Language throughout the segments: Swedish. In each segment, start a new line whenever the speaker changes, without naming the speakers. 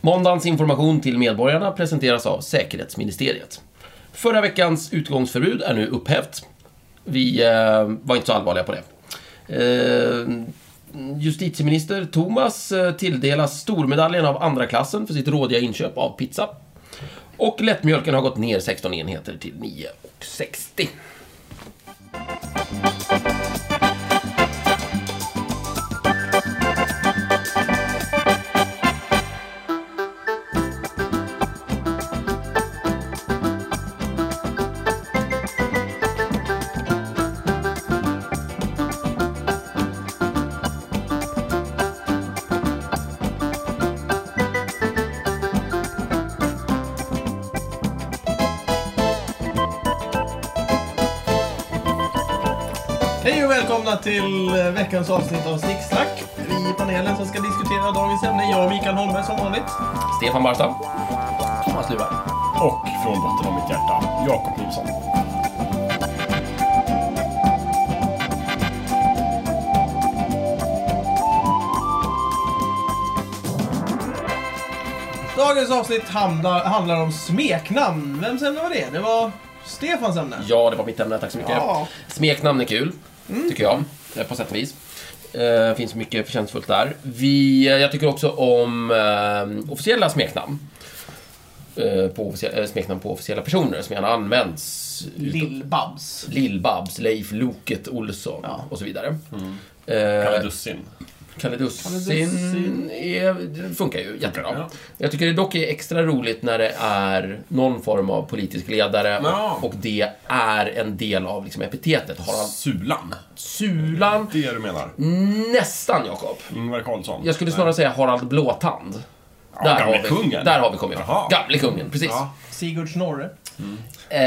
Måndagens information till medborgarna presenteras av Säkerhetsministeriet. Förra veckans utgångsförbud är nu upphävt. Vi eh, var inte så allvarliga på det. Eh, justitieminister Thomas eh, tilldelas stormedaljen av andra klassen för sitt rådiga inköp av pizza. Och lättmjölken har gått ner 16 enheter till 9,60.
Hej och välkomna till eh, veckans avsnitt av Snicksnack. Vi i panelen som ska diskutera dagens ämne, jag och Mikael Holmberg som vanligt.
Stefan Barstam. Thomas Luva.
Och från botten av mitt hjärta, Jakob Nilsson.
Dagens avsnitt handlar, handlar om smeknamn. Vems ämne var det? Det var Stefans ämne.
Ja, det var mitt ämne. Tack så mycket.
Ja.
Smeknamn är kul, tycker jag. eh, På sätt och vis. Eh, finns mycket förtjänstfullt där. Vi, eh, jag tycker också om eh, officiella smeknamn. Eh, på officie- eh, smeknamn på officiella personer som gärna används.
Lill-Babs.
Lill-Babs, Leif Loket Olsson och så vidare.
Kalle
Mm.
Dussin.
Kalidussin är- det funkar ju jättebra.
ja.
Jag tycker det dock är extra roligt när det är någon form av politisk ledare
Ja.
och, och det är en del av liksom epitetet. Har han
Sulan.
Sulan?
Det är det du menar?
Nästan, Jakob.
Ingvar Karlsson?
Mm. Jag skulle snarare säga Harald Blåtand.
gamle
har vi,
kungen.
Där har vi kommit
Jaha.
ifrån. Gamle kungen, precis.
Ja.
Sigurd Snorre.
Eh,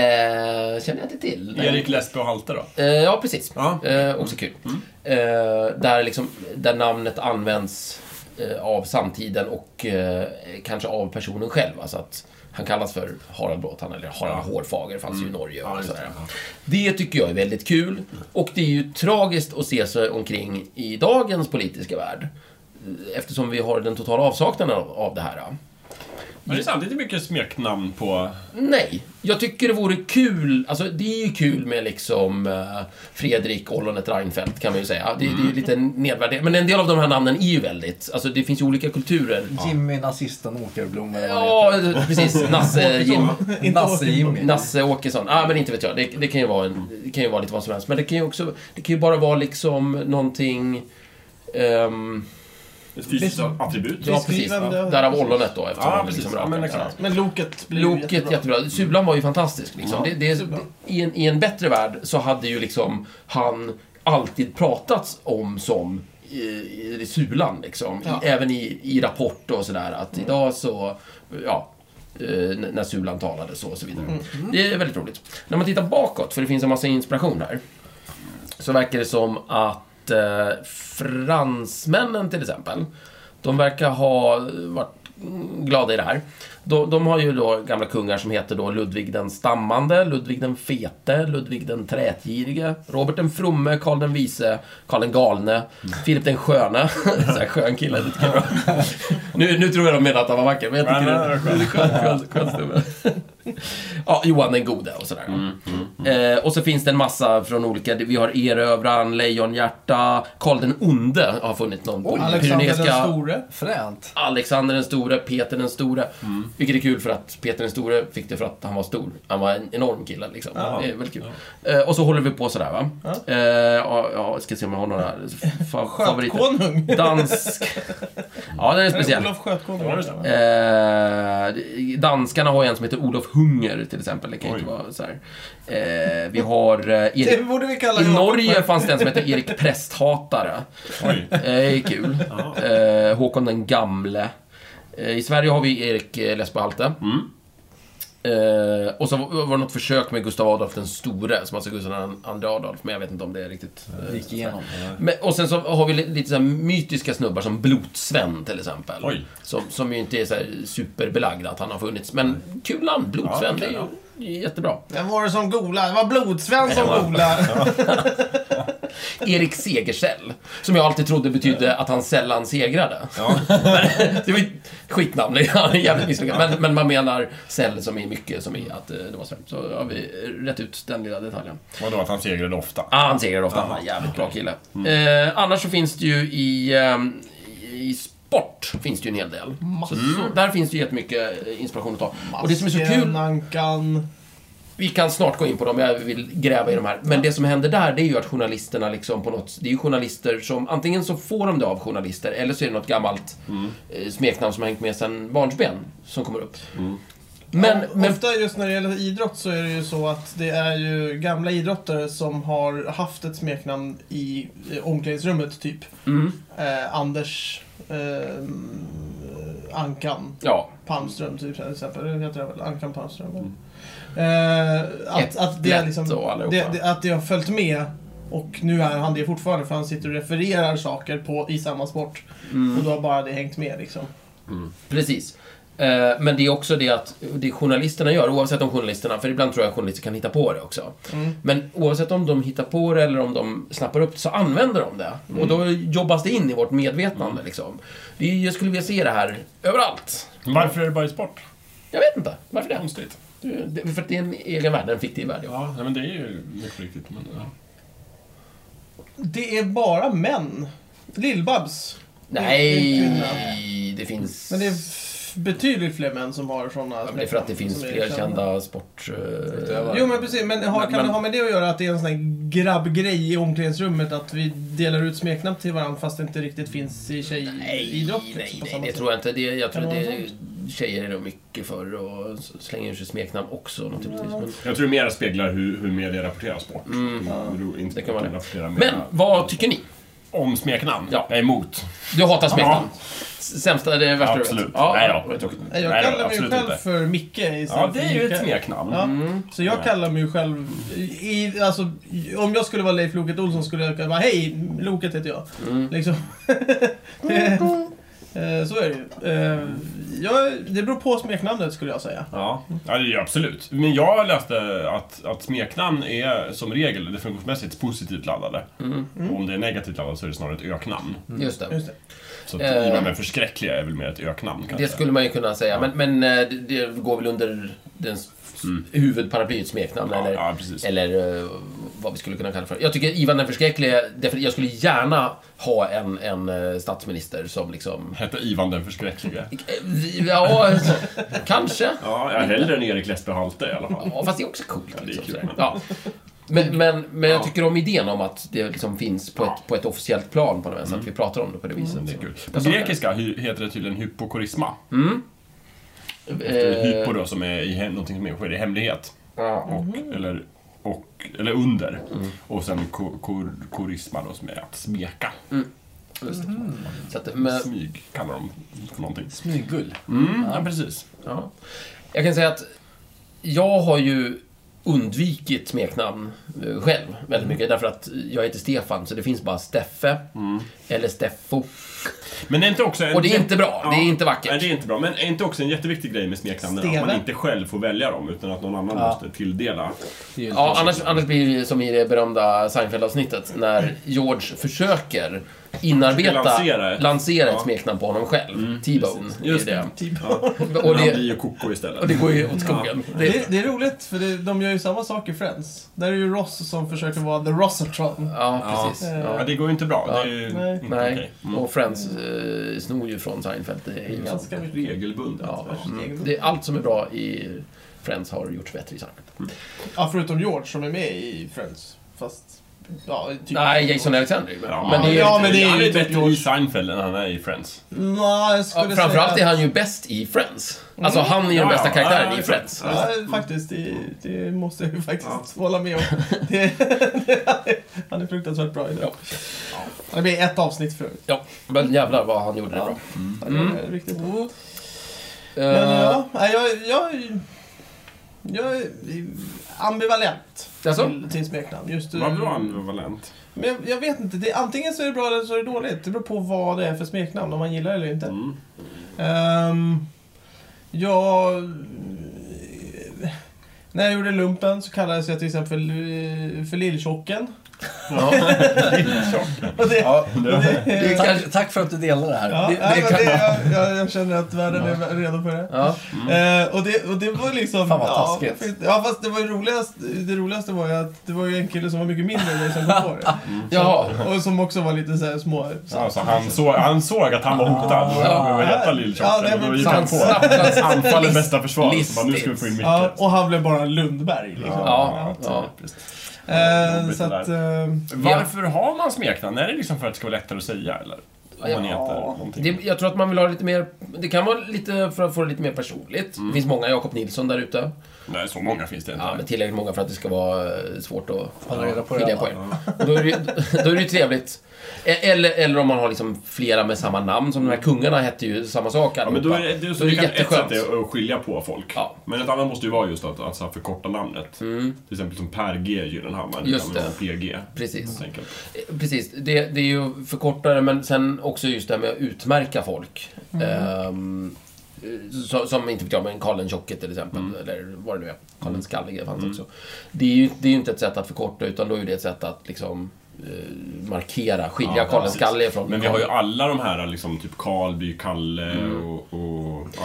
känner jag inte till. Nej.
Erik Lesbe och Halte då?
Eh, ja, precis.
Ja. Mm.
Eh, också kul. Eh, där, liksom, där namnet används eh, av samtiden och eh, kanske av personen själv. Alltså att han kallas för Harald Blåtand eller Harald Hårfager, fanns ju i Norge och
Mm. just
sådär. Det tycker jag är väldigt kul. Och det är ju tragiskt att se sig omkring i dagens politiska värld. eh, Eftersom vi har den totala avsaknaden av, av det här. ja.
Men det är sant, det är inte mycket smeknamn på...
Nej, jag tycker det vore kul. Alltså, det är ju kul med liksom eh, Fredrik Ollonet Reinfeldt kan man ju säga. Det, det är ju lite
Mm.
nedvärderat. Men en del av de här namnen är ju väldigt... Alltså, det finns ju olika kulturer.
Jimmy Nazisten Åkerblom eller vad han
Ja, precis. Nasse, Jim,
heter. Nasse-Jimmy.
Nasse Åkesson. Ah, men inte vet jag. Det, det, kan ju vara en, det kan ju vara lite vad som helst. Men det kan ju också... Det kan ju bara vara liksom någonting... ehm,
Ett fysiskt attribut?
ja, precis. Va?
Beskrivande.
Därav Ollonet då, eftersom
Ja,
han
precis.
liksom
Ja,
rakar
men
sig.
exakt.
Men Loket blir
Loket jättebra.
jättebra.
Sulan var ju fantastisk. Liksom. Det, det, det, i, en, I en bättre värld så hade ju liksom han alltid pratats om som i, i Sulan. Liksom.
Ja. Mm.
I, även i, i Rapport och sådär. Att idag så, ja, eh, n- när Sulan talade så och så vidare.
Mm.
Det är väldigt roligt. När man tittar bakåt, för det finns en massa inspiration här, så verkar det som att eh, fransmännen till exempel, de verkar ha varit glada i det här. De, de har ju då gamla kungar som heter då Ludvig den stammande, Ludvig den fete, Ludvig den trätgirige, Robert den fromme, Karl den vise, Karl den galne, Filip den sköne. så här skön kille, lite kul. nu, nu tror jag de menar att han var vacker, men jag tycker
Nej,
det
nej,
är
nej, skön.
skön, skön, skön snubbe. Ja, Johan den gode och sådär. Eh, och så finns det en massa från olika, vi har Erövran, Lejonhjärta, Karl den onde har funnit någon på
Alexander den store.
Fränt.
Alexander den store, Peter den store. Vilket är kul för att Peter den store fick det för att han var stor. Han var en enorm kille liksom. Det är väldigt kul. Eh, och så håller vi på sådär va. Eh, ja, ja, jag ska se om jag har några fa- favoriter.
Skötkonung.
Dansk... Ja, den är
Eller
speciell.
Olof Skötkonung.
Ja, just det.
Eh, danskarna har ju en som heter Olof Hunger till exempel. Det kan ju inte vara så här. Eh, vi har eh,
Det
Erik...
borde vi kalla
I
Jakob
Norge
för.
fanns det en som heter Erik Prästhatare.
Oj.
Eh, Det är kul. Eh, Håkon den gamle. Eh, I Sverige har vi Erik eh, Lesbo Halte. Eh, och så var var det något försök med Gustav Adolf den store, som alltså Gustav II Adolf, men jag vet inte om det är riktigt... eh,
Gick igenom.
men, och sen så har vi li- lite så här mytiska snubbar som Blotsven till exempel.
Oj.
Som, som ju inte är så här superbelagda att han har funnits. Men kul namn, Blotsven. det
Ja,
är ju
ja.
det är jättebra.
Vem var det som golade? Det var Blodsvän som golade.
Erik Segersäll. Som jag alltid trodde betydde att han sällan segrade.
Ja.
Det var ju ett skitnamn, det är jävligt misslyckat. Men, men man menar säll som är mycket, som är att eh, det var så. här. Så har vi rätt ut den lilla detaljen.
Vadå, att han segrade ofta?
Ja, han segrar ofta. Han är en jävligt bra kille. Eh, annars så finns det ju i, ehm, i sport finns det ju en hel del. Så, så där finns det ju jättemycket eh, inspiration att ta. Och det som är så kul,
Ankan.
vi kan snart gå in på dem, jag vill gräva i de här. Men det som händer där, det är ju att journalisterna liksom på något... Det är ju journalister som, antingen så får de det av journalister, eller så är det något gammalt eh, smeknamn som har hängt med sedan barnsben som kommer upp.
Mm.
Men, men
Ofta just när det gäller idrott så är det ju så att det är ju gamla idrottare som har haft ett smeknamn i eh, omklädningsrummet, typ. Eh, Anders eh, Ankan
ja,
Palmström, typ, till exempel. Det heter det väl? Ankan Palmström. eller? Eh, att, att, det är
Lätt
liksom,
och allihopa.
det, det, att det har följt med och nu är han det fortfarande för han sitter och refererar saker på, i samma sport.
Mm.
Och då har bara det hängt med liksom.
Precis. Eh, Men det är också det att det journalisterna gör, oavsett om journalisterna, för ibland tror jag att journalister kan hitta på det också. Men oavsett om de hittar på det eller om de snappar upp det, så använder de det. Och då jobbas det in i vårt medvetande liksom. Det är, jag skulle vilja se det här överallt.
Varför är det bara i sport?
Jag vet inte, varför
Mm.
det?
Konstigt.
det för att det är en egen värld, en fiktiv värld. Ja.
Ja, nej, men det är ju mycket riktigt. Men, ja.
Det är bara män. Lill-Babs.
Nej, det finns...
Men det är f- betydligt fler män som har sådana
Ja, men det är för att det finns
som är
fler kända sport... eh,
Jo men precis, men, har,
Men-
kan
men-
det ha med det att göra att det är en sån här grabbgrej i omklädningsrummet? Att vi delar ut smeknamn till varandra fast det inte riktigt finns i tjejidrott?
Nej,
liksom, på
nej,
samma
det
sätt.
tror jag inte. Det, jag tror
Kan det
det
vara
är, tjejer är nog mycket för och s- slänger ur sig smeknamn också naturligtvis. Men,
Jag tror det mer speglar hur, hur media rapporterar sport. Mm. Inte
Det kan vara det.
rapporterar
men
mera
vad tycker ni?
Om smeknamn?
Ja.
Jag är emot.
Du hatar smeknamn? S- Sämsta, det är värsta
absolut.
du vet? Ja,
nej
ja,
då.
det är tråkigt.
Nej, Jag
Nej då,
kallar mig ju
absolut
själv
inte.
för Micke istället
Ja, det är ju
för
ett
Micke.
smeknamn.
Ja,
Mm.
Så jag kallar mig ju själv... I, alltså, i- om jag skulle vara Leif Loket Olsson skulle jag kunna vara Hej, Loket heter jag.
Mm.
Liksom. det, eh, så är det ju. Eh, jag, det beror på smeknamnet skulle jag säga.
Ja, ja det är ju absolut. Men jag läste att, att smeknamn är som regel definitionsmässigt positivt laddade.
Mm.
Och om det är negativt laddat så är det snarare ett öknamn.
Just det.
Just det.
Så att
Mm. Eh.
i och med förskräckliga är väl mer ett öknamn kanske.
Det skulle man ju kunna säga. Men, men eh, det- det går väl under den s- huvudparaplyet smeknamn
Mm. Ja,
eller,
ja, precis.
eller eh, vad vi skulle kunna kalla det för. Jag tycker Ivan den förskräcklige, därför jag skulle gärna ha en, en eh, statsminister som liksom...
Hette Ivan den förskräcklige.
Eh, Ja, kanske.
Ja, jag hellre än Erik Lesbe Halte i alla fall.
Ja, fast det är också coolt.
det är
Liksom,
kul,
sådär.
men-
ja. Men, men, men jag
Ja.
tycker om idén om att det liksom finns på ett, på ett officiellt plan på något vis, att vi pratar om det på det viset.
Mm. Det är kul. På
Jag sa det.
grekiska hy- heter det tydligen hypokorisma.
Eh,
Hypo då, som är i hem, någonting som är, sker i hemlighet.
ja.
Och, eller, och, eller under.
Mm.
Och sen ko, kor, korisma då, som är att smeka.
Mm. Så att, men,
Smyg kallar de för någonting.
Smyggull.
Mm, ja, precis.
ja. Jag kan säga att jag har ju undvikit smeknamn eh, själv väldigt mycket, därför att jag heter Stefan, så det finns bara Steffe, eller Steffo.
Men är inte också en
Och det är inte bra,
Ja.
det är inte vackert.
Nej, det är inte bra. Men är inte också en jätteviktig grej med smeknamnen att man
Steve.
inte själv får välja dem, utan att någon annan
Ja.
måste tilldela.
Det är ju
Ja, annars, annars blir det som i det berömda Seinfeld-avsnittet när George försöker inarbeta,
Försöker lansera ett-
lansera ett
Ja.
smeknamn på honom själv. T-Bone. Mm, är
Just
det.
Typ.
Och
Men han blir
det,
ju koko
och
istället.
det går ju åt skogen. Det,
Det, det är roligt, för det, de gör ju samma sak i Friends. Där är ju Ross som försöker vara The Rossatron.
ja, precis.
Ja.
Ja,
Ja.
det går ju inte bra.
Ja.
Det är ju
Nej.
inte
Nej,
okej. Mm.
och Friends eh, snor ju från Seinfeld. Det är ju sant.
Ganska mycket.
Regelbundet.
Ja,
Ja.
mm. det är allt som är bra i Friends har gjorts bättre i Seinfeld.
Ja, förutom George som är med i Friends. Fast, ja, typ.
Nej, Jason Alexander är ju bra. Men det är,
Ja,
inte-
men det är
han
ju
är
typ
bättre
George.
i Seinfeld än han är i Friends.
Nej, jag
ja,
skulle
framförallt är
säga...
han ju bäst i Friends. Alltså, han är ju den
Ja, ja.
bästa
Ja,
karaktären
ja,
i Friends.
Ja, faktiskt. Det, det måste jag ju faktiskt hålla med om. Det, han är fruktansvärt bra i det.
Ja.
Det blir ett avsnitt för övrigt.
Ja, men jävlar vad han gjorde det bra.
Han är Riktigt bra. Men
Eh,
ja, nej, jag, jag, jag är ambivalent
Jaså?
till, till smeknamn. Just, eh,
Vad bra ambivalent.
Men jag, jag vet inte, det, antingen så är det bra eller så är det dåligt. Det beror på vad det är för smeknamn, om man gillar det eller inte.
Mm.
Ehm, jag... När jag gjorde lumpen så kallades jag till exempel eh, för Lilltjocken. Och det,
Ja.
det,
Tack, tack för att du delade det här.
Ja,
det,
nej,
det
men
kan,
det, jag, jag, jag känner att världen är redo för det.
Ja.
Eh, och, det och det var liksom...
Fan, vad
ja,
taskigt.
fint. ja, fast det var ju roligast, det roligaste var ju att det var ju en kille som var mycket mindre än dig som kom på det.
Jaha.
Och som också var lite så här små...
Alltså, han, såg, han såg att han var
Ah.
hotad. Och han behövde hjälpa lill
Ja, det
men
var
då gick
sant.
han på.
Snabbt, snabbt.
Anfall är bästa försvar.
Listigt.
Så bara, nu ska vi få in Micke.
Ja, och han blev bara Lundberg. Liksom.
Ja, ja.
typiskt.
Eh,
jobbigt
så
det
att... eh,
Varför har man smeknamn? Är det liksom för att det ska vara lättare att säga, eller? Om man
Ja.
heter någonting.
Det, jag tror att man vill ha lite mer... Det kan vara lite för att få det lite mer personligt.
Mm.
Det finns många Jakob Nilsson där ute.
Nej, så många finns det inte.
Ja, men tillräckligt många för att det ska vara eh, svårt att
Hålla reda på det
skilja
alla.
på er. Då är det, ju- då är det ju trevligt. E- Eller, eller om man har liksom flera med samma namn, som de här kungarna hette ju samma sak
Ja, men då är det, det, är så
Då är det
det kan ett
jätteskönt.
sätt är att skilja på folk.
Ja. Mm.
Men ett annat måste ju vara just att alltså, förkorta namnet. Till exempel som Per G Gyllenhammar.
Just
kan man
det.
ha PG.
Precis.
helt enkelt.
Eh, Precis. Det, det är ju förkortare, men sen också just det här med att utmärka folk.
Mm.
Ehm, eh, så, som, inte vet jag, men Karl den tjocke till exempel,
Mm.
eller vad det nu är. Karl den skallige fanns också. Det är, ju, det är ju inte ett sätt att förkorta, utan då är det ett sätt att liksom eh, markera, skilja
Ja,
Karl den
precis.
skallige från
Men vi har ju alla de här liksom typ Karlby, Kalle
Mm.
och... och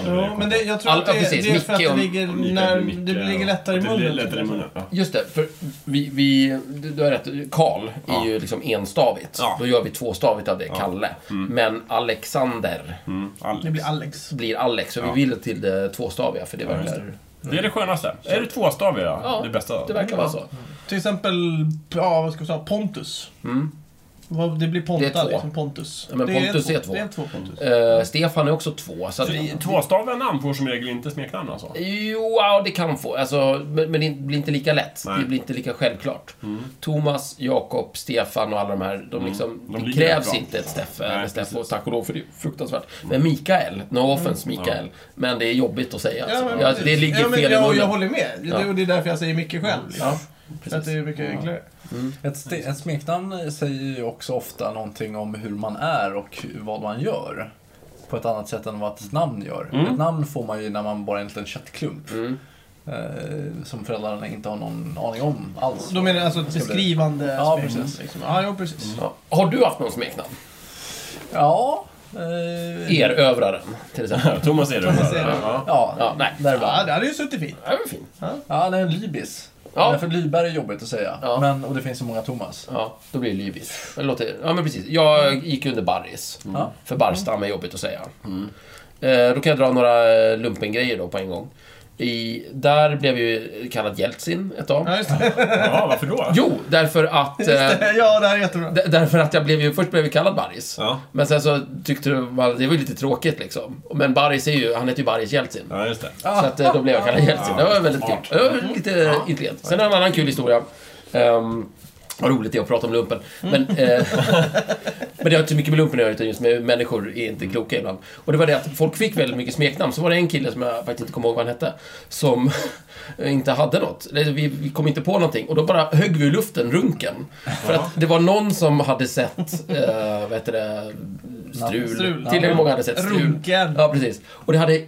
Jo, men det, jag tror
All-
att det,
ja, precis.
det är för att
Micke
det
och-
ligger,
och Mikael
när,
Micke
det ligger
och-
lättare i
det är
munnen. typ.
Lättare i munnen, ja.
Just det, för vi, vi, du du har rätt. Karl är ju liksom enstavigt.
Ja.
Då gör vi tvåstavigt av det, Kalle. Men Alexander
Mm, all-
Det blir Alex.
blir Alex, så vi vill till det tvåstaviga, för det
just
verkar...
Det är det skönaste. Är det tvåstaviga?
Ja,
det bästa?
det verkar vara så.
Till exempel, ja, vad ska vi säga, Pontus. Vad- Det blir Ponta,
Mm. Det är två.
liksom. Pontus.
Ja, men
det
Pontus är två.
Det är två Pontus.
Eh, Stefan är också två, så att...
Så Alltså, i- Tvåstaviga namn får som regel inte smeknamn alltså?
Jo, ja, det kan få. Alltså, men, men det blir inte lika lätt.
Nej.
Det blir inte lika självklart. Thomas, Jakob, Stefan och alla de här, de liksom,
de
det
ligger rätt
krävs
bra.
inte ett Steffe
Nej,
eller Steffo,
precis.
tack och lov för det är fruktansvärt. Men Mikael, no offense Mikael, men det är jobbigt att säga. alltså.
men
ja,
precis.
det ligger
ja, men
fel i
jag,
munnen.
jag håller med. Det-
Ja.
Och det är därför jag säger Micke själv. Liksom.
Ja,
För att det
precis.
är mycket enklare.
ett, ste- ett smeknamn säger ju också ofta någonting om hur man är och hur- vad man gör. På ett annat sätt än vad ett namn gör.
Mm.
Ett namn får man ju när man bara är en liten köttklump. Eh, som föräldrarna inte har någon aning om alls.
Då menar jag alltså ett
Ska bli-
beskrivande
Ja,
spegel,
precis.
Liksom. Ja, jo, precis.
Ja. Har du haft någon smeknamn?
Ja.
E-
Eh,
Erövraren, till exempel.
Thomas är det.
Thomas är det.
Ja.
ja,
Ja, nej.
där var
Ja, det hade ju suttit fint.
Ja, men fint.
Ja, det är en Libis.
Ja.
Därför Lyberg är jobbigt att säga.
Ja.
Men, och det finns så många Thomas.
Ja, då blir det Lyvis. Det låter- Ja, men precis. Jag
Mm.
gick under Barris.
Ja.
För Barstam är jobbigt att säga.
Mm.
Eh, då kan jag dra några eh, lumpengrejer då på en gång. I, där blev ju kallad Jeltsin ett tag.
Ja, just det.
ja, varför då?
Jo, därför att... Eh,
ja, det här är jättebra.
d- därför att jag blev ju... Först blev jag kallad Barris.
Ja.
Men sen så tyckte man... Det var ju lite tråkigt liksom. Men Barris är ju... Han heter ju Barris Jeltsin.
ja, just det.
Så att, eh, då blev jag kallad Jeltsin. Det var väldigt kul.
Smart.
Det var lite ja. intelligent. Sen en annan kul historia. Um, vad roligt det är att prata om lumpen. Men, eh, men det har inte så mycket med lumpen att göra, utan just med människor är inte kloka ibland. Och det var det att folk fick väldigt mycket smeknamn. Så var det en kille som jag faktiskt inte kommer ihåg vad han hette, som inte hade något. Eller Vi, vi kom inte på någonting. Och då bara högg vi i luften, runken. För att det var någon som hade sett, eh, vad heter det, strul.
Strul.
Tillräckligt många hade sett strul.
Runken.
Ja, precis. Och det hade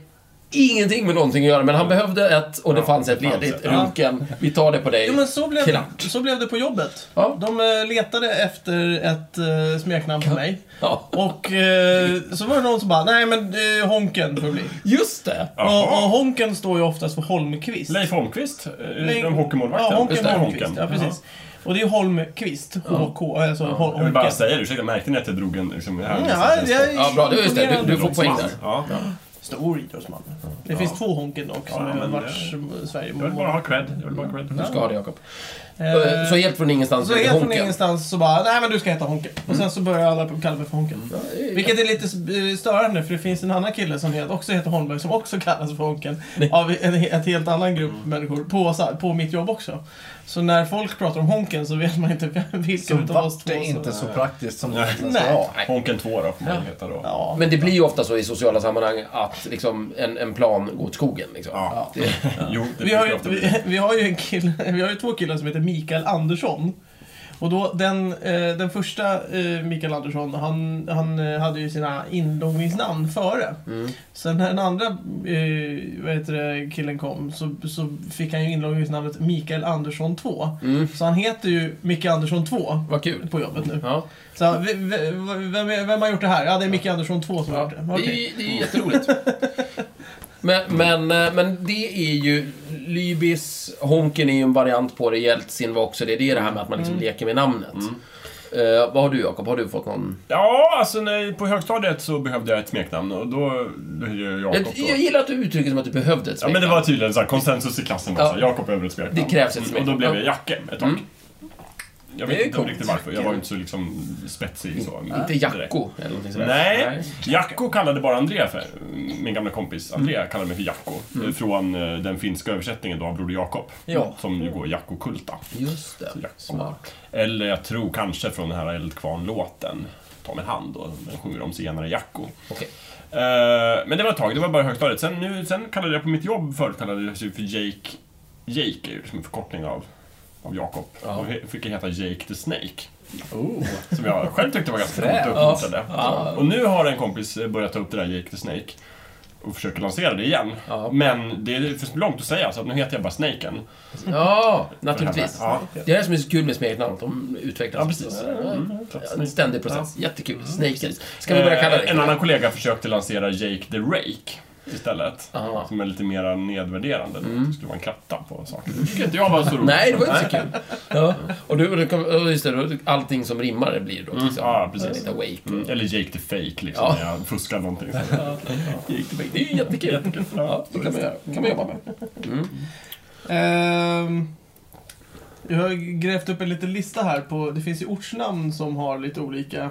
ingenting med någonting att göra, men han behövde ett och det fanns ett
det fanns
ledigt.
ett.
Runken, vi tar det på dig.
Jo, men så blev,
Klart.
så blev det på jobbet.
Ja.
De eh, letade efter ett eh, smeknamn på mig.
Ja,
Och eh, så var det någon som bara, nej men eh, Honken får det bli.
just det!
Jaha.
Och, och Honken står ju oftast för Holmqvist.
Leif Holmqvist, eh,
Nej,
de hockeymålvakten.
Ja,
Just
Honken
det,
Holmqvist. Ja,
Honken.
precis. Och det är Holmqvist, HK, alltså Hol-
Jag vill bara
Honken.
säga det, ursäkta, märkte ni att jag drog en... Liksom, här,
Ja, jag,
Ja, bra. Det var just det. Du, du får poäng där.
Ja.
Stor idrottsman. Det finns två Honken dock, som
Ja,
har
men
varit Sverige.
Jag vill bara ha cred. Jag vill bara ha cred.
Du ska ha det, Jakob.
Eh,
Så helt från ingenstans
Så
blev det
helt från
Honken. Mm.
ingenstans så bara, nej men du ska heta Honken. Och sen så börjar alla kalla mig för Honken. Vilket är lite eh, störande för det finns en annan kille som heter- också heter Holmberg som också kallas för Honken. Av en, en helt annan grupp människor på, så här- på mitt jobb också. Så när folk pratar om Honken så vet man inte vem,
Så
vilken av oss
vart
två
det är
som...
inte så praktiskt som
Nej.
det
Nej.
ska vara.
Honken 2 då, får man heta då.
Ja.
Men det blir ju ofta så i sociala sammanhang att liksom en, en plan går åt skogen. Liksom.
Ja.
Det,
Jo, det
Vi har,
brukar
ju,
ofta bli.
vi, vi har ju en kille, vi har ju två killar som heter Mikael Andersson. Och då, den, eh, den första eh, Mikael Andersson, han, han eh, hade ju sina inloggningsnamn före.
Mm.
Sen när den andra eh, vad heter det, killen kom så, så fick han ju inloggningsnamnet Mikael Andersson 2.
Mm.
Så han heter ju Micke Andersson 2
Vad kul.
på jobbet nu.
Ja.
Så, v- v- vem, är- vem har gjort det här? Ja, det är Micke Andersson 2 som har
Ja,
gjort det.
det, är,
Okej.
ju- det är ju jätteroligt. Men, men, eh, men det är ju... Lybis, Honken är ju en variant på det, Jeltsin var också det. Det är det här med att man liksom
Mm.
leker med namnet. Eh, vad har du Jakob? Har du fått någon...
Ja, alltså när, på högstadiet så behövde jag ett smeknamn och då blev jag Jakob.
Jag,
då.
jag gillar att du uttrycker det som att du behövde ett
Ja, men det
smeknamn.
var tydligen så här, konsensus i klassen också.
Ja.
Jakob behöver ett smeknamn.
Det krävs ett
Mm,
smeknamn.
Och då blev
Ja.
jag Jacke ett tag.
Mm.
Jag
Det är
vet inte
coolt.
riktigt varför. Jag
Jacke.
var ju inte så liksom spetsig så.
Inte
direkt.
Jacko eller någonting sådär.
Nej, Jacko kallade bara André för, min gamla kompis
Mm.
André kallade mig för Jacko. Från eh, den finska översättningen då av Broder Jakob.
Ja.
Som ju går Jacko Kulta.
Just det.
Jacko.
Smart.
Eller jag tror kanske från den här Eldkvarn-låten. Ta min hand då, den sjunger om senare Jacko.
Okej.
Eh, men det var ett tag, det var bara högstadiet. Sen, nu, sen kallade jag på mitt jobb förut kallade jag sig för Jake. Jake är ju liksom en förkortning av, av Jakob.
Ja.
Och he- fick jag heta Jake the Snake.
Oh.
Som jag själv tyckte var ganska
Fränt.
coolt och uppmuntrande. Och nu har en kompis börjat ta upp det där Jake the Snake och försöker lansera det igen.
Ja.
Men det är för långt att säga så att nu heter jag bara Snaken.
Ja, naturligtvis.
Ja,
Det är det som är så kul med smeknamn, att de utvecklas.
ja precis. Mm.
Ja, En ständig process. Jättekul. Snake Eyes. Ska vi
Eh,
börja kalla det?
En annan kollega försökte lansera Jake the Rake istället.
Aha.
Som är lite mer nedvärderande. Det skulle vara en klatta på saker. Det tycker inte jag var så roligt.
Nej, det var inte så kul. Ja. Och du, och du, kom- och just det, då- allting som rimmar blir då liksom.
Mm. ja, precis.
Lite awake.
Mm. Eller Jake the Fake liksom,
Ja.
när jag fuskar någonting.
Jake the Fake. Det är ju jättekul.
Jättekul.
Ja, det kan man, göra. kan man jobba med.
Mm.
Ehm, jag har grävt upp en liten lista här på, det finns ju ortsnamn som har lite olika.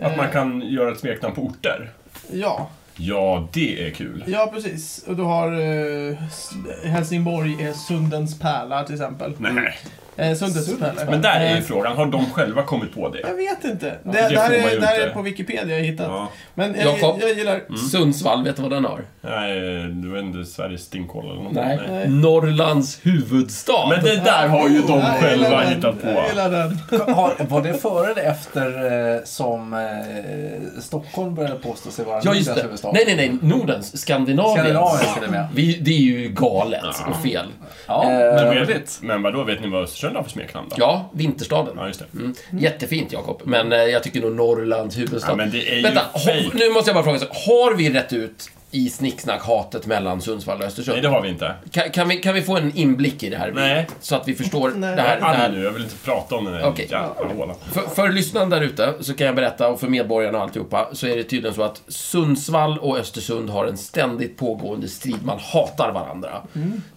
Att man
Eh,
kan göra ett smeknamn på orter.
Ja,
Ja, det är kul.
ja precis. Och du har eh, S- Helsingborg är Sundens pärla till exempel.
Nej.
Eh, Sundens, pärla.
Men där är ju
Eh,
frågan, har de själva kommit på
jag
det?
vet inte. Det,
det
det, här,
får man ju
är, det här
inte.
är på Wikipedia jag hittat.
Ja. Mm.
Men jag,
Jakob?
jag, gillar...
Sundsvall, vet du vad den har?
Nej, du vet inte, Sveriges stinkkoll eller något.
Nej.
Norrlands huvudstad.
Men det där har ju
Jag
de
gillar
själva
den.
hittat på.
Jag gillar den.
Har, var det före eller efter eh, som eh, Stockholm började påstå sig vara
Ja, just
Nordens
det.
huvudstad?
Nej, nej, nej. Nordens. Skandinavien.
Skandinavien ska det med.
Vi, det är ju galet och fel.
Ja,
Eh,
Men,
roligt.
vet, men vadå, vet ni vad Östersund har för smeknamn då?
Ja, Vinterstaden.
Ja, just det.
Mm. Jättefint, Jakob. Men eh, jag tycker nog Norrlands huvudstad.
Ja, men det är ju
Vänta,
fake.
ho- nu måste jag bara fråga. Så, har vi rätt ut i snicksnack-hatet mellan Sundsvall och Östersund?
Nej, det har vi inte.
Kan, kan, vi, kan vi få en inblick i det här?
Nej.
Så att vi förstår
Nej.
det här. Det
Anna
här.
nu, jag vill inte prata om den här
Okej.
jävla hålan.
För, för lyssnaren där ute så kan jag berätta, och för medborgarna och alltihopa, så är det tydligen så att Sundsvall och Östersund har en ständigt pågående strid. Man hatar varandra.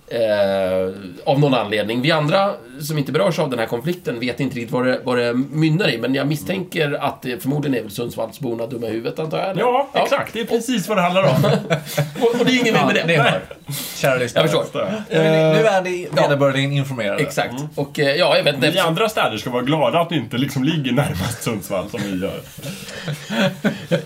Eh, av någon anledning. Vi andra som inte berörs av den här konflikten vet inte riktigt vad det, vad det mynnar i, men jag misstänker att det förmodligen är väl Sundsvallsborna dumma i huvudet, antar jag? eller?
Ja, exakt. Det är precis vad det handlar om.
Och, och det är ingen
Ja,
med det.
ni hör. Kära lyssnare.
Jag förstår.
Nu är ni- nu är ni vederbörligen informerade.
Exakt.
Mm.
Och eh, ja, jag vet inte.
Ni andra städer ska vara glada att ni inte liksom ligger närmast Sundsvall som vi gör.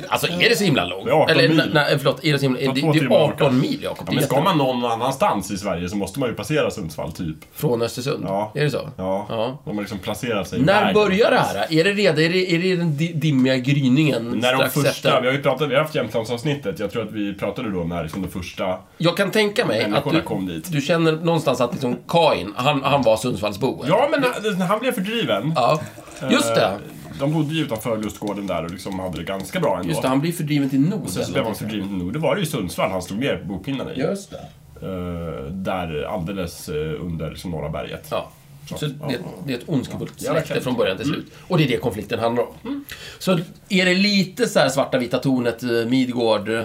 Alltså är det så himla långt?
Det är 18
Eller,
mil.
Nej, nej, förlåt. Är det, så himla, det,
tar
det
två timmar
är
att åka.
18 mil, Jakob.
Ja,
Det är
men ska
jätte-
man någon annanstans i Sverige så måste man ju passera Sundsvall, typ.
Från Östersund?
Ja.
Är det så?
Ja.
Ja.
De har liksom placerat sig i
När
vägen.
börjar det här? Är det redan, är det, är det den di- dimmiga gryningen
När de
strax
första, vi
efter?
har ju pratat, vi har haft Jämtlandsavsnittet, jag tror att vi pratade då om när liksom de första
Jag kan tänka mig att
människorna
du,
kom dit.
du känner någonstans att liksom Kain, han, han var Sundsvallsbo. eller?
Ja, men han, han blev fördriven.
ja. Just
Eh,
det.
De bodde ju utanför lustgården där och liksom hade det ganska bra ändå.
Just det, han blir fördriven till Nord.
Så blev han fördriven till Nord. Det var det ju Sundsvall han slog ner bopinnarna i.
Mm. Just det.
Eh, där alldeles eh, under liksom, norra berget.
Ja. Så det, det är ett ondskefullt
Ja,
släkte
Mm. verkligen.
från början till slut. Och det är det konflikten handlar om. Så är det lite så här svarta vita tornet, eh, Midgård, eh,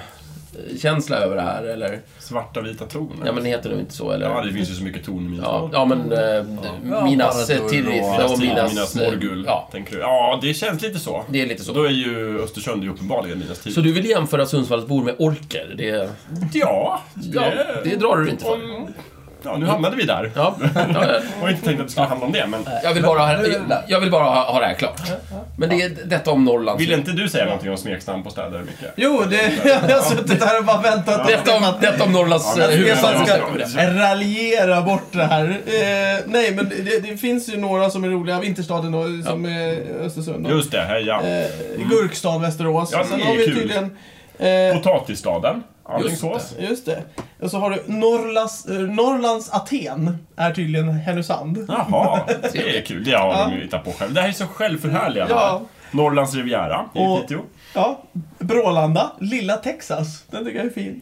känsla över det här eller?
Svarta vita torn.
Ja men heter det inte så eller?
Ja, det finns ju så mycket torn i mina
Ja,
ja.
ja men eh, Minas
Baradur och
Tirith och Minas...
Minas
eh,
Morgul,
Ja,
tänker du? Ja, det känns lite så.
det är lite så.
Då är ju Östersund ju uppenbarligen Minas tid.
Så du vill jämföra Sundsvallsbor med orker? Det,
Ja,
ja, det drar du inte för.
om, Ja, nu hamnade vi där.
Ja. Ja,
Jag har inte tänkt att det skulle handla om det, men
Jag vill bara, ha-
Nu är vi där.
jag vill bara ha, ha det här klart. Men det är detta om Norrland.
vill inte du säga någonting om smeknamn på städer, Micke?
Jo, det, jag har suttit här och bara väntat.
Detta om, detta om Norrlands
Ja,
eh,
men det är
huvudstad.
sant.
Stefan
Jag
ska
måste prata om det.
raljera bort det här. Eh, nej, men det, det finns ju några som är roliga. Vinterstaden och, som är Östersund. då.
Just det, heja.
Eh, Gurkstad, Västerås.
Ja,
Sen
det
har
är
vi
kul.
tydligen... Eh,
Potatisstaden, Alingsås.
just det. Och så har du Norrlands, eh, Norrlands Aten, är tydligen Härnösand.
Jaha, det är kul. Det har de ju hittat på själv. Det här är så självförhärligande.
Ja.
Norrlands Riviera i
Och-
Piteå.
Ja, Brålanda, Lilla Texas. Den tycker jag är fin.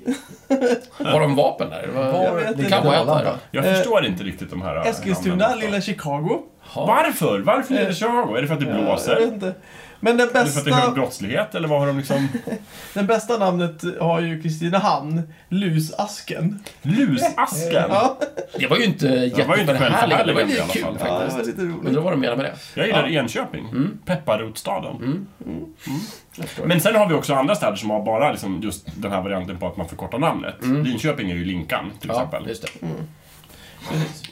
Har de vapen där? Det var-
Jag vet
Var
inte.
Det
ligger
kan vara ett där
Arlanda?
då.
Jag
Eh,
förstår inte riktigt de här... eh,
Eskilstuna,
namnen.
Lilla Chicago.
Varför? Varför är
Eh,
det Chicago? Är det för att det blåser?
Jag vet inte. Men den
Är det för att det är hög
bästa,
brottslighet, eller vad har de liksom...
den bästa namnet har ju Kristinehamn, Lusasken.
Lusasken!
Ja,
Det var ju inte
Det var ju
jätteförhärligande.
inte
Det var
självförhärligande i
ju
alla
kul
fall.
ja, det
faktiskt.
var lite roligt.
Undrar vad de menar med det.
Jag gillar Enköping.
Mm.
Pepparrotstaden. Men sen har vi också andra städer som har bara liksom just den här varianten på att man förkortar namnet.
Mm.
Linköping är ju Linkan, till
Ja,
exempel.
just det.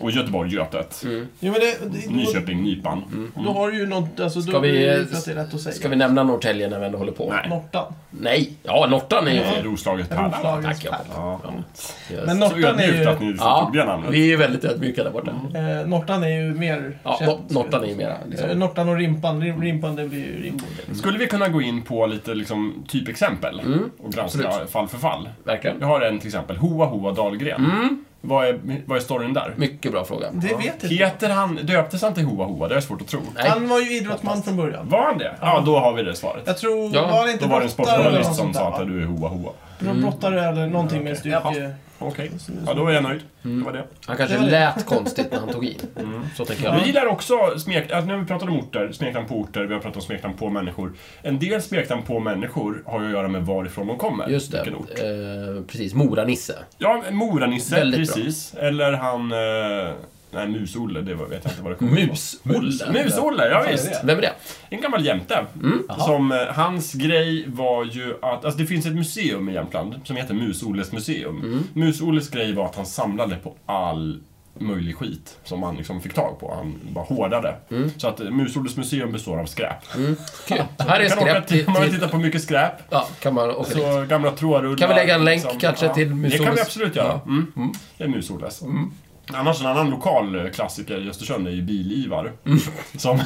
Och Göteborg, Götet.
Jo, men det, det,
Nyköping, Nypan.
då, då har du ju något, alltså, då
Ska vi-
är det ju för att det är lätt att säga.
Ska vi nämna Norrtälje när vi ändå håller på?
Nej.
Nortan.
Nej. Ja, Nortan är ju
Det är
fel.
Roslaget, Pärlan.
Roslagens
Tack, ja.
pärla.
Ja.
Yes.
Mm. Men
Så
Nortan är
ödmjukt att
ju,
ni liksom
Ja,
tog det namnet.
vi är väldigt ödmjuka där borta.
eh, Nortan är ju mer
Ja,
känt.
Nor- Nortan är ju mera, liksom.
Eh, Nortan och Rimpan. Rim, rimpan, det blir ju Rimbo.
Skulle vi kunna gå in på lite liksom, typexempel och granska
absolut.
fall för fall?
Verkligen.
Jag har en till exempel. Hoa Hoa Dahlgren. Vad, är, vad är storyn där?
Mycket bra fråga.
Det vet jag inte.
Heter han, döptes han till Hoa Hoa? Det är svårt att tro.
Nej.
Han var ju idrottsman från början.
Var han det? Ja, då har vi det svaret.
Jag tror,
Ja, Mm.
var det inte
Då var det en sportjournalist
något
som
sånt där,
sa att
va?
du är Hoa Hoa.
Brottare eller någonting med
okej.
styrke...
Okej. Ja, då är jag nöjd. Det var det.
Han kanske
Det var det.
lät konstigt när han tog i.
Mm.
Så tänker
Jag
jag.
gillar också smek... Alltså, när vi pratat om orter, smeknamn på orter, vi har pratat om smeknamn på människor. En del smeknamn på människor har ju att göra med varifrån de kommer.
Just det.
Vilken ort.
Eh, precis. Mora-Nisse.
Ja, Moranisse,
Väldigt bra.
precis. Eller han... Eh... Nej, Mus-Olle, det var- vet jag inte vad det kommer
Mus-Olle.
Mus-Olle, ja
är
visst.
det?
Vem Mm. är det?
En gammal jämte. Som, eh, hans grej var ju att, alltså det finns ett museum i Jämtland som heter Mus-Olles museum.
Mm.
Mus-Olles grej var att han samlade på all möjlig skit som han liksom fick tag på. Han bara hårdade.
Mm.
Så att eh, Mus-Olles museum består av skräp.
Kul. Här är
Man kan åka
skräp
till,
till...
man kan
till
titta på mycket skräp.
ja, kan man åka dit.
Så gamla trådrullar.
Kan vi lägga en länk kanske till
Det kan vi
Mus-Olles?
absolut göra. Mm. Det är Mus-Olles. Annars en annan lokal eh, klassiker i Östersund är ju Bil-Ivar. Som,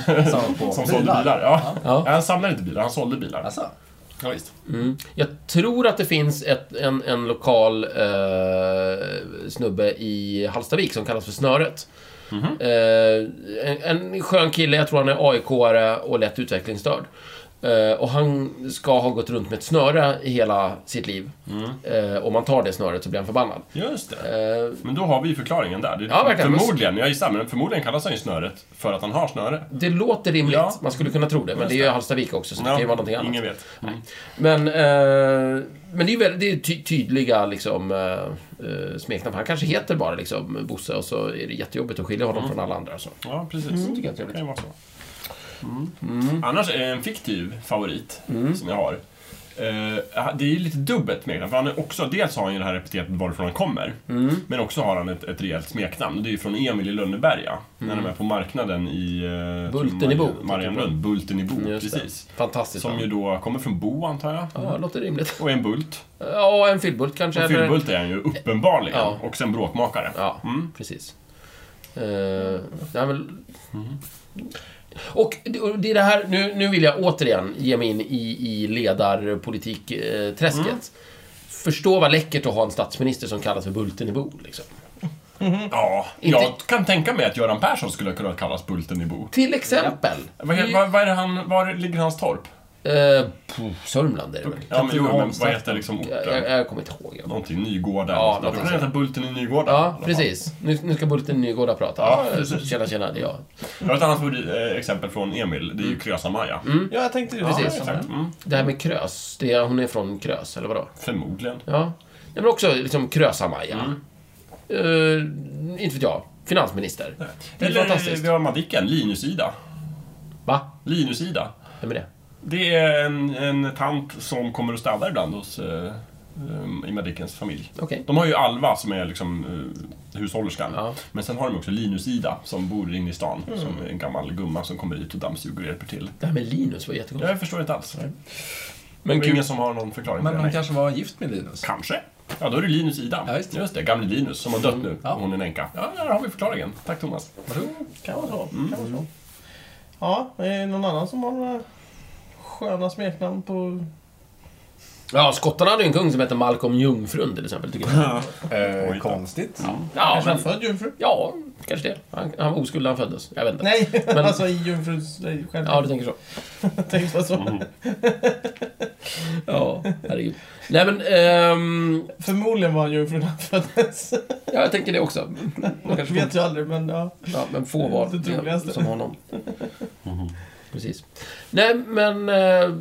på
som sålde
bilar.
bilar. Ja.
Mm. Ja.
Ja, Han samlade inte bilar, han sålde bilar.
Alltså,
Ja, visst.
Mm. Jag tror att det finns ett, en, en lokal eh, snubbe i Hallstavik som kallas för Snöret.
Mhm.
Eh, en, en skön kille, jag tror han är AIK-are och lätt utvecklingsstörd. Eh, och han ska ha gått runt med ett snöre i hela sitt liv.
Mm.
Eh, om man tar det snöret så blir han förbannad.
Just det.
Eh,
Men då har vi ju förklaringen där. Det är
Ja, verkligen.
förmodligen, jag gissar, men förmodligen kallas han ju Snöret för att han har snöre.
det låter rimligt,
Ja.
man skulle kunna tro det. Men
Just
det är ju
det.
Hallstavik också, så det kan ju vara någonting annat.
ingen vet. Mm.
Men, eh, men det är ju väldigt, det är ty- tydliga liksom, eh, eh, smeknamn. Han kanske heter bara liksom, Bosse och så är det jättejobbigt att skilja honom
Mm.
från alla andra. Så.
Ja, precis.
tycker jag är
det
trevligt. Mm.
kan ju vara så. Mm. Annars är en fiktiv favorit som jag har. Eh, det är ju lite dubbelt smeknamn, för han är också, dels har han ju det här epitetet varifrån han kommer,
Mm.
men också har han ett, ett rejält smeknamn. Det är ju från Emil i Lönneberga, när
Mm.
de är på marknaden i... Eh,
Bultenebo,
Marien- Marienlund, Bultenebo,
Just det.
precis.
Fantastiskt.
Som
namn.
ju då kommer från Bo, antar jag.
Ja, det låter rimligt.
Och är en bult.
Ja, en fyllbult kanske.
Och
eller-
fyllbult är han ju uppenbarligen.
Ja.
Och sen bråkmakare.
Ja,
Mm.
precis. Eh, nej, men...
Mm.
Och det- och det är det här, nu, nu vill jag återigen ge mig in i, i ledarpolitikträsket.
Mm.
Förstå vad läckert att ha en statsminister som kallas för Bultenebo. Liksom.
Ja,
Inte-
jag kan tänka mig att Göran Persson skulle kunna kallas Bultenebo.
Till exempel.
Vad, he- vad, vad är det han, var ligger hans torp?
Eh, på Sörmland är det väl?
Ja, men, jo, men vad
Katrineholmstorp.
heter liksom
Jag, jag,
orten?
jag kommer inte ihåg. Jag.
Någonting, Nygården.
Ja,
Ja,
något
du kan
sånt.
heta Bulten i Nygården. i alla
Ja,
fall.
precis. Nu, nu ska Bulten Nygårda prata.
Ja,
Ja,
precis.
tjena, tjena, det är jag.
Jag har ett annat favorit- eh, exempel från Emil. Det är ju Krösa-Maja.
Ja, jag tänkte det.
Precis.
Exakt. Mm.
Det här med Krös, det är, hon är från Krös, eller vadå?
Förmodligen.
Ja. Nej, men också liksom Krösa-Maja.
Mm.
Eh, inte vet jag. Finansminister. Det är
Eller
fantastiskt.
vi har Madicken, Linus-Ida.
Va?
Linus-Ida.
Vem är det?
Det är en, en tant som kommer och städar ibland hos eh, eh, Ingmar Dickens familj.
Okej.
De har ju Alva som är liksom eh, hushållerskan.
Ja.
Men sen har de också Linus-Ida som bor inne i stan. Som är en gammal gumma som kommer dit och dammsuger och hjälper till.
Det här med Linus var jättekonstigt.
Jag förstår inte alls.
Men
Men
kul.
ingen som har någon förklaring
Men
på
hon
det. nej.
kanske var gift med Linus?
Kanske. Ja, då är det Linus-Ida.
Ja, just det.
gamle Linus som har dött nu.
Ja.
Och hon är en änka. Ja, där har vi förklaringen. Tack Thomas.
Kan vara så.
Mm.
Kan vara så. Ja, är det någon annan som har några sköna smeknamn på...
Ja, skottarna hade ju en kung som hette Malcolm Jungfrun till exempel, tycker jag.
Eh,
Oj, då.
konstigt.
Ja,
Kanske
men,
han född jungfru?
ja kanske det. Han, han var oskuld när han föddes. Jag vet inte.
Nej,
Men-
alltså i jungfruns... nej, Själv.
Ja, du tänker så.
Tänkte jag så.
Ja, herregud. Nej, men... ehm,
Förmodligen var han jungfru när han föddes.
ja, jag tänker det också. Man kanske får,
vet ju aldrig, men ja.
ja, men få var
Det troligaste.
som honom. Precis. Nej, men... eh,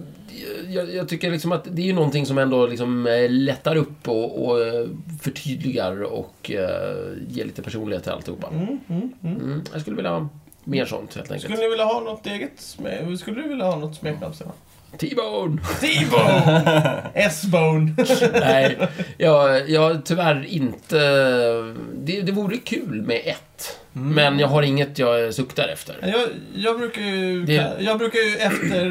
jag, jag tycker liksom att det är ju någonting som ändå liksom eh, lättar upp och, och eh, förtydligar och eh, ger lite personlighet till alltihopa.
Mm, mm, mm.
Mm, jag skulle vilja ha mer sånt helt enkelt.
Skulle ni vilja ha något eget smek... Skulle du vilja ha något smeknamn, Stefan?
T-bone!
T-bone! S-bone!
Nej, jag, jag tyvärr inte... Det, det vore kul med ett. Men jag har inget jag suktar efter.
Jag, jag, brukar ju,
Det-
jag brukar ju efter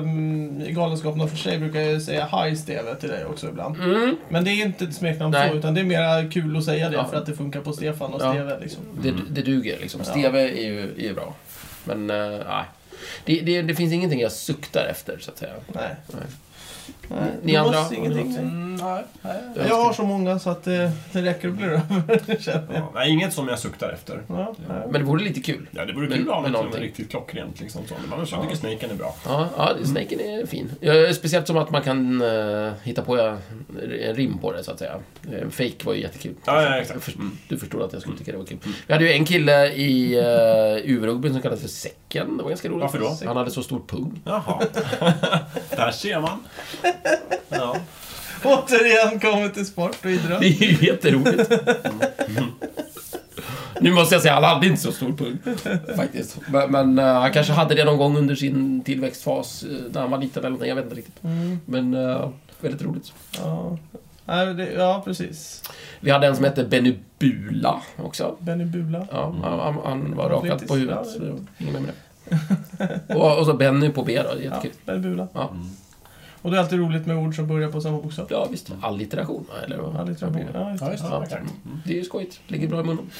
um, Galenskaperna för sig brukar jag säga Hi Steve till dig också ibland.
Mm,
Men det är inte ett smeknamn
Nej.
så, utan det är mera kul att säga det
Ja.
för att det funkar på Stefan och
Ja.
Steve. Liksom.
det, det duger liksom.
Ja.
Steve är ju, är ju bra. Men eh, nej. Det, det, det finns ingenting jag suktar efter, så att säga.
Nej.
Nej.
Nej.
Ni
det
andra,
måste
har
ingenting.
ni
Mm, nej, nej.
Jag
Jag har så många så att eh, det räcker att bli över, känner jag.
Ja, nej, inget som jag suktar efter.
Ja, nej.
Men det vore lite kul.
Ja, det vore
Men-
kul att ha
men
något som är
någonting.
riktigt klockrent. Liksom, så. Men annars, jag tycker snaken är bra.
Ja, ja snaken är fin. Ja, Speciellt som att man kan eh, hitta på eh, en rim på det, så att säga. Eh, Fake var ju jättekul.
Ja, ja, exakt.
Jag först- Du förstod att jag skulle tycka det var kul. Vi hade ju en kille i uh, UV-rugbyn som kallades för Säcken. Det var ganska roligt.
Varför då?
Han hade så stor pung.
Jaha. Där ser man. Ja.
Återigen kommer till sport och idrott.
Det är ju jätteroligt. Nu måste jag säga, han hade inte så stor pung. Faktiskt. Men, men eh, han kanske hade det någon gång under sin tillväxtfas, eh, när han var liten eller någonting. Jag vet inte riktigt.
Mm,
Men eh, väldigt roligt.
ja. Nej, det, ja, precis.
Vi hade en som hette Benny Bula också.
Benny Bula.
Ja, han, han, han var
Ja,
rakad
faktiskt.
på huvudet,
Ja.
så det var inget mer med det. Och, och så Benny på B då,
Ja,
jättekul.
Benny Bula.
Ja.
Och det är alltid roligt med ord som börjar på samma bokstav.
Ja, visst. Allitteration, va? eller vad?
Alliteration. Ja, just det.
Ja, just det.
Ja, Mm.
exakt.
det är ju skojigt. Ligger bra i munnen.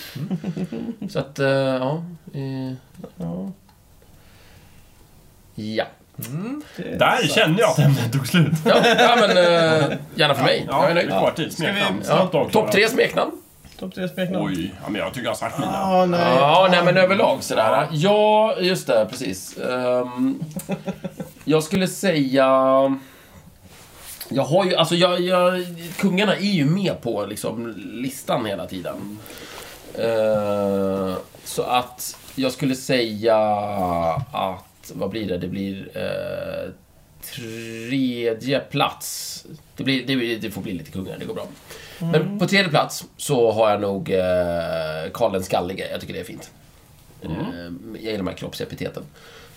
Så att, eh, ja. eh,
Ja,
Ja.
det-
Där kände jag att ämnet tog slut.
Ja, ja men eh, gärna för mig.
Ja,
Jag är
det
nöjd.
är kvartid. Smeknamn.
vi-
Snabbt
Ja,
avklarat.
Topp tre smeknamn?
Topp tre smeknamn.
Oj, ja, men jag tycker jag har sagt mina.
Ah, nej.
Ja, nej men överlag sådär. Ja, just det, precis. Ehm, jag skulle säga... Jag har ju, alltså jag, jag, kungarna är ju med på liksom listan hela tiden. Ehm, så att jag skulle säga att, vad blir det? Det blir eh, tredje plats. Det, blir, det, blir, det får bli lite kungar, det går bra. Men på tredje plats så har jag nog eh, Karl den skallige. Jag tycker det är fint. Eh, jag gillar de här kroppsepiteten.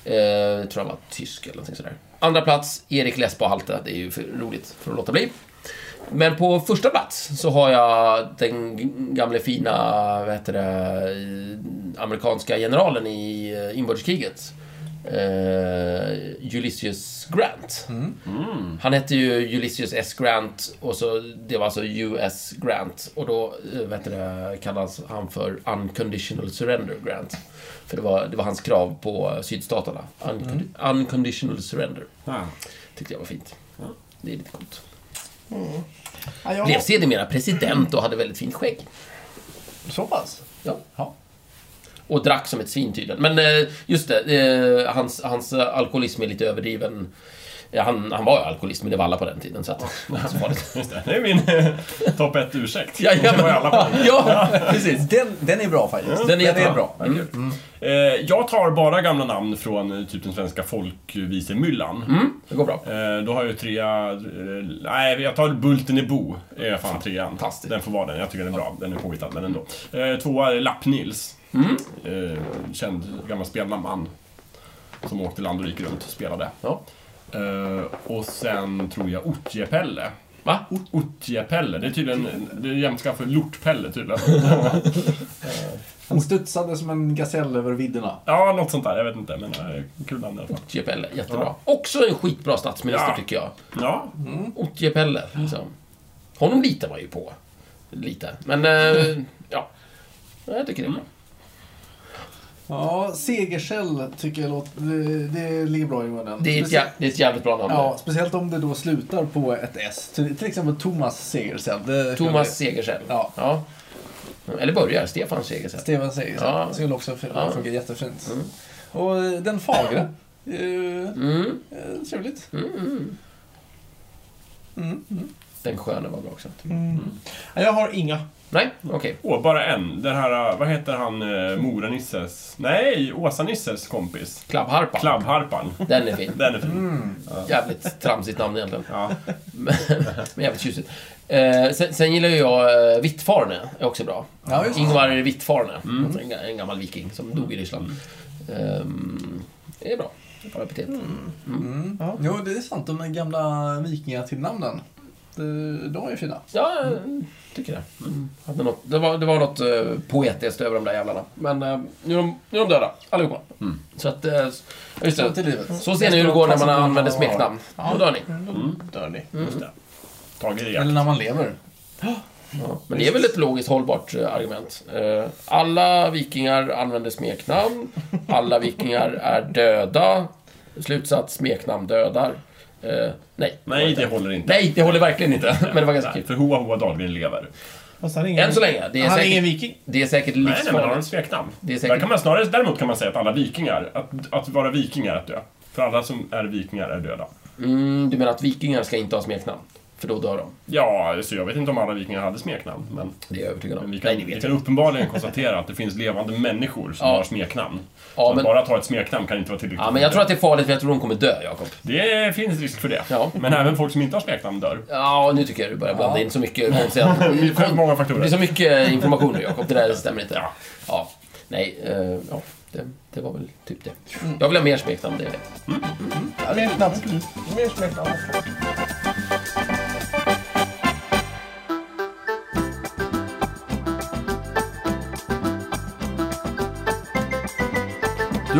Eh, jag tror han var tysk eller någonting sådär. Andra plats, Erik Lesbo Halte. Det är ju för roligt för att låta bli. Men på första plats så har jag den g- gamle fina, vad heter det, eh, amerikanska generalen i eh, inbördeskriget. Eh, Ulysses Grant. Han hette ju Ulysses S. Grant och så, det var alltså US Grant. Och då eh, vet du, det, kallas han för Unconditional Surrender Grant. För det var, det var hans krav på eh, sydstaterna. Uncon- Unconditional Surrender.
Ja.
Tyckte jag var fint. Det är lite coolt.
Ja, jag
Blev sedermera president och hade väldigt fint skägg.
Så pass?
Ja.
Ja.
Och drack som ett svin tydligen. Men eh, just det, eh, hans, hans eh, alkoholism är lite överdriven. Ja, han, han var ju alkoholist, men det var alla på den tiden. Så att, det var inte så farligt.
Just det, det är min eh, topp 1-ursäkt.
Ja, ja,
Det var ju alla på.
ja, precis.
Den, den är bra faktiskt.
Den är jättebra.
Mm.
Eh, jag tar bara gamla namn från eh, typ den svenska folkvisemyllan.
Mm, det går bra.
Eh, då har jag ju trea... Eh, nej, jag tar Bulten i Bo. Är fan trean.
Fantastiskt.
Den får vara den. Jag tycker den är bra. Den är påhittad, men ändå. Eh, tvåa är Lapp-Nils.
Mm.
Eh, känd gammal spelman. Som åkte land och rike runt och spelade.
Ja.
Eh, och sen tror jag Otje-Pelle.
Va?
Ot- Otjepelle, det är tydligen det är jämska för lortpelle tydligen.
Han studsade som en gasell över vidderna.
Ja, något sånt där. Jag vet inte, men eh, kul namn i alla fall.
Otjepelle, jättebra. Också en skitbra statsminister
Ja.
tycker jag.
Ja,
Otjepelle, liksom. Honom litar man ju på. Lite. Men, eh, ja. Jag tycker det är bra.
Ja, segerkäll tycker jag låter... Det, det ligger bra i munnen.
Det är ett,
Specie-
jä- det är ett jävligt bra namn.
Ja, speciellt om det då slutar på ett S. Till, till exempel Thomas Segersäll. Det-
Thomas Segersäll.
Ja.
ja. Eller börjar Stefan Segersäll.
Steven Segersäll.
Ja.
Skulle också fun-
Ja.
funka jättefint. Och eh, den fagre. Eh,
Mm.
eh, Trevligt.
Mm, mm.
Mm.
Den sköne var bra också.
Mm. Ja, Jag har inga.
Nej, okej.
Åh, bara en. Den här, eh, vad heter han, eh, Mora-Nisses? Nej, Åsa-Nisses kompis.
Klabbharpan.
Klabbharpan.
Den är fin.
Den är fin.
Mm. Jävligt tramsigt namn egentligen.
Ja.
Men men jävligt tjusigt. Eh, sen, sen gillar ju jag eh, Vittfarne, är också bra.
Ja, just det. Mm.
Ingvar Vittfarne, en, ga- en gammal viking som dog i Ryssland. Ehm, det är bra. Det är Bra epitet.
Mm.
Ja.
Jo, det är sant. De gamla vikingatillnamnen. De, de är ju fina.
Ja, jag tycker det. Hade något, det, var, det var något eh, poetiskt över de där jävlarna. Men eh, nu, är de, nu är de döda, allihopa.
Mm.
Så att, eh, ja, just
Så till
det.
livet.
Så ser ni hur det går när man använder smeknamn. Då dör ni. Mm.
Då dör ni.
Just det. Tage i
Eller
jakt.
när man lever.
Men det är väl ett logiskt hållbart eh, argument. Eh, Alla vikingar använder smeknamn. Alla vikingar är döda. Slutsats, smeknamn dödar. Eh, Nej.
Nej, det håller inte.
Nej, det håller verkligen inte. Men det var ganska
Nej,
kul.
För Hoa Hoa Dahlgren lever.
Fast han är ingen...
Än så länge. Det är
Han är ingen
säkert,
viking.
det är säkert
Nej, nej, men har de
livsfarligt.
smeknamn?
Det är säkert-
Där kan man snarare, däremot kan man säga att alla vikingar, att, att vara vikingar är att dö. För alla som är vikingar är döda.
Mm, du menar att vikingar ska inte ha smeknamn? För då dör de.
Ja, så jag vet inte om alla vikingar hade smeknamn, men,
Det är jag övertygad
men
om.
vi
Nej,
kan,
ni
vi
vet.
kan uppenbarligen konstatera att det finns levande människor som
Ja.
har smeknamn.
Ja,
så
men-
att bara ta ett smeknamn kan inte vara tillräckligt.
Ja, men jag tror att det är farligt för jag tror de kommer dö, Jakob.
Det finns risk för det.
Ja.
Men även folk som inte har smeknamn dör.
Ja, nu tycker jag du börjar blanda
Ja.
in så mycket konstiga...
Det är för många
Det är
faktorer.
så mycket information nu, Jakob. Det där stämmer inte. Ja. Nej, eh, ja. Det, det var väl typ det. Jag vill ha mer smeknamn, det är det.
Mer snabbt. Mer smeknamn.
Du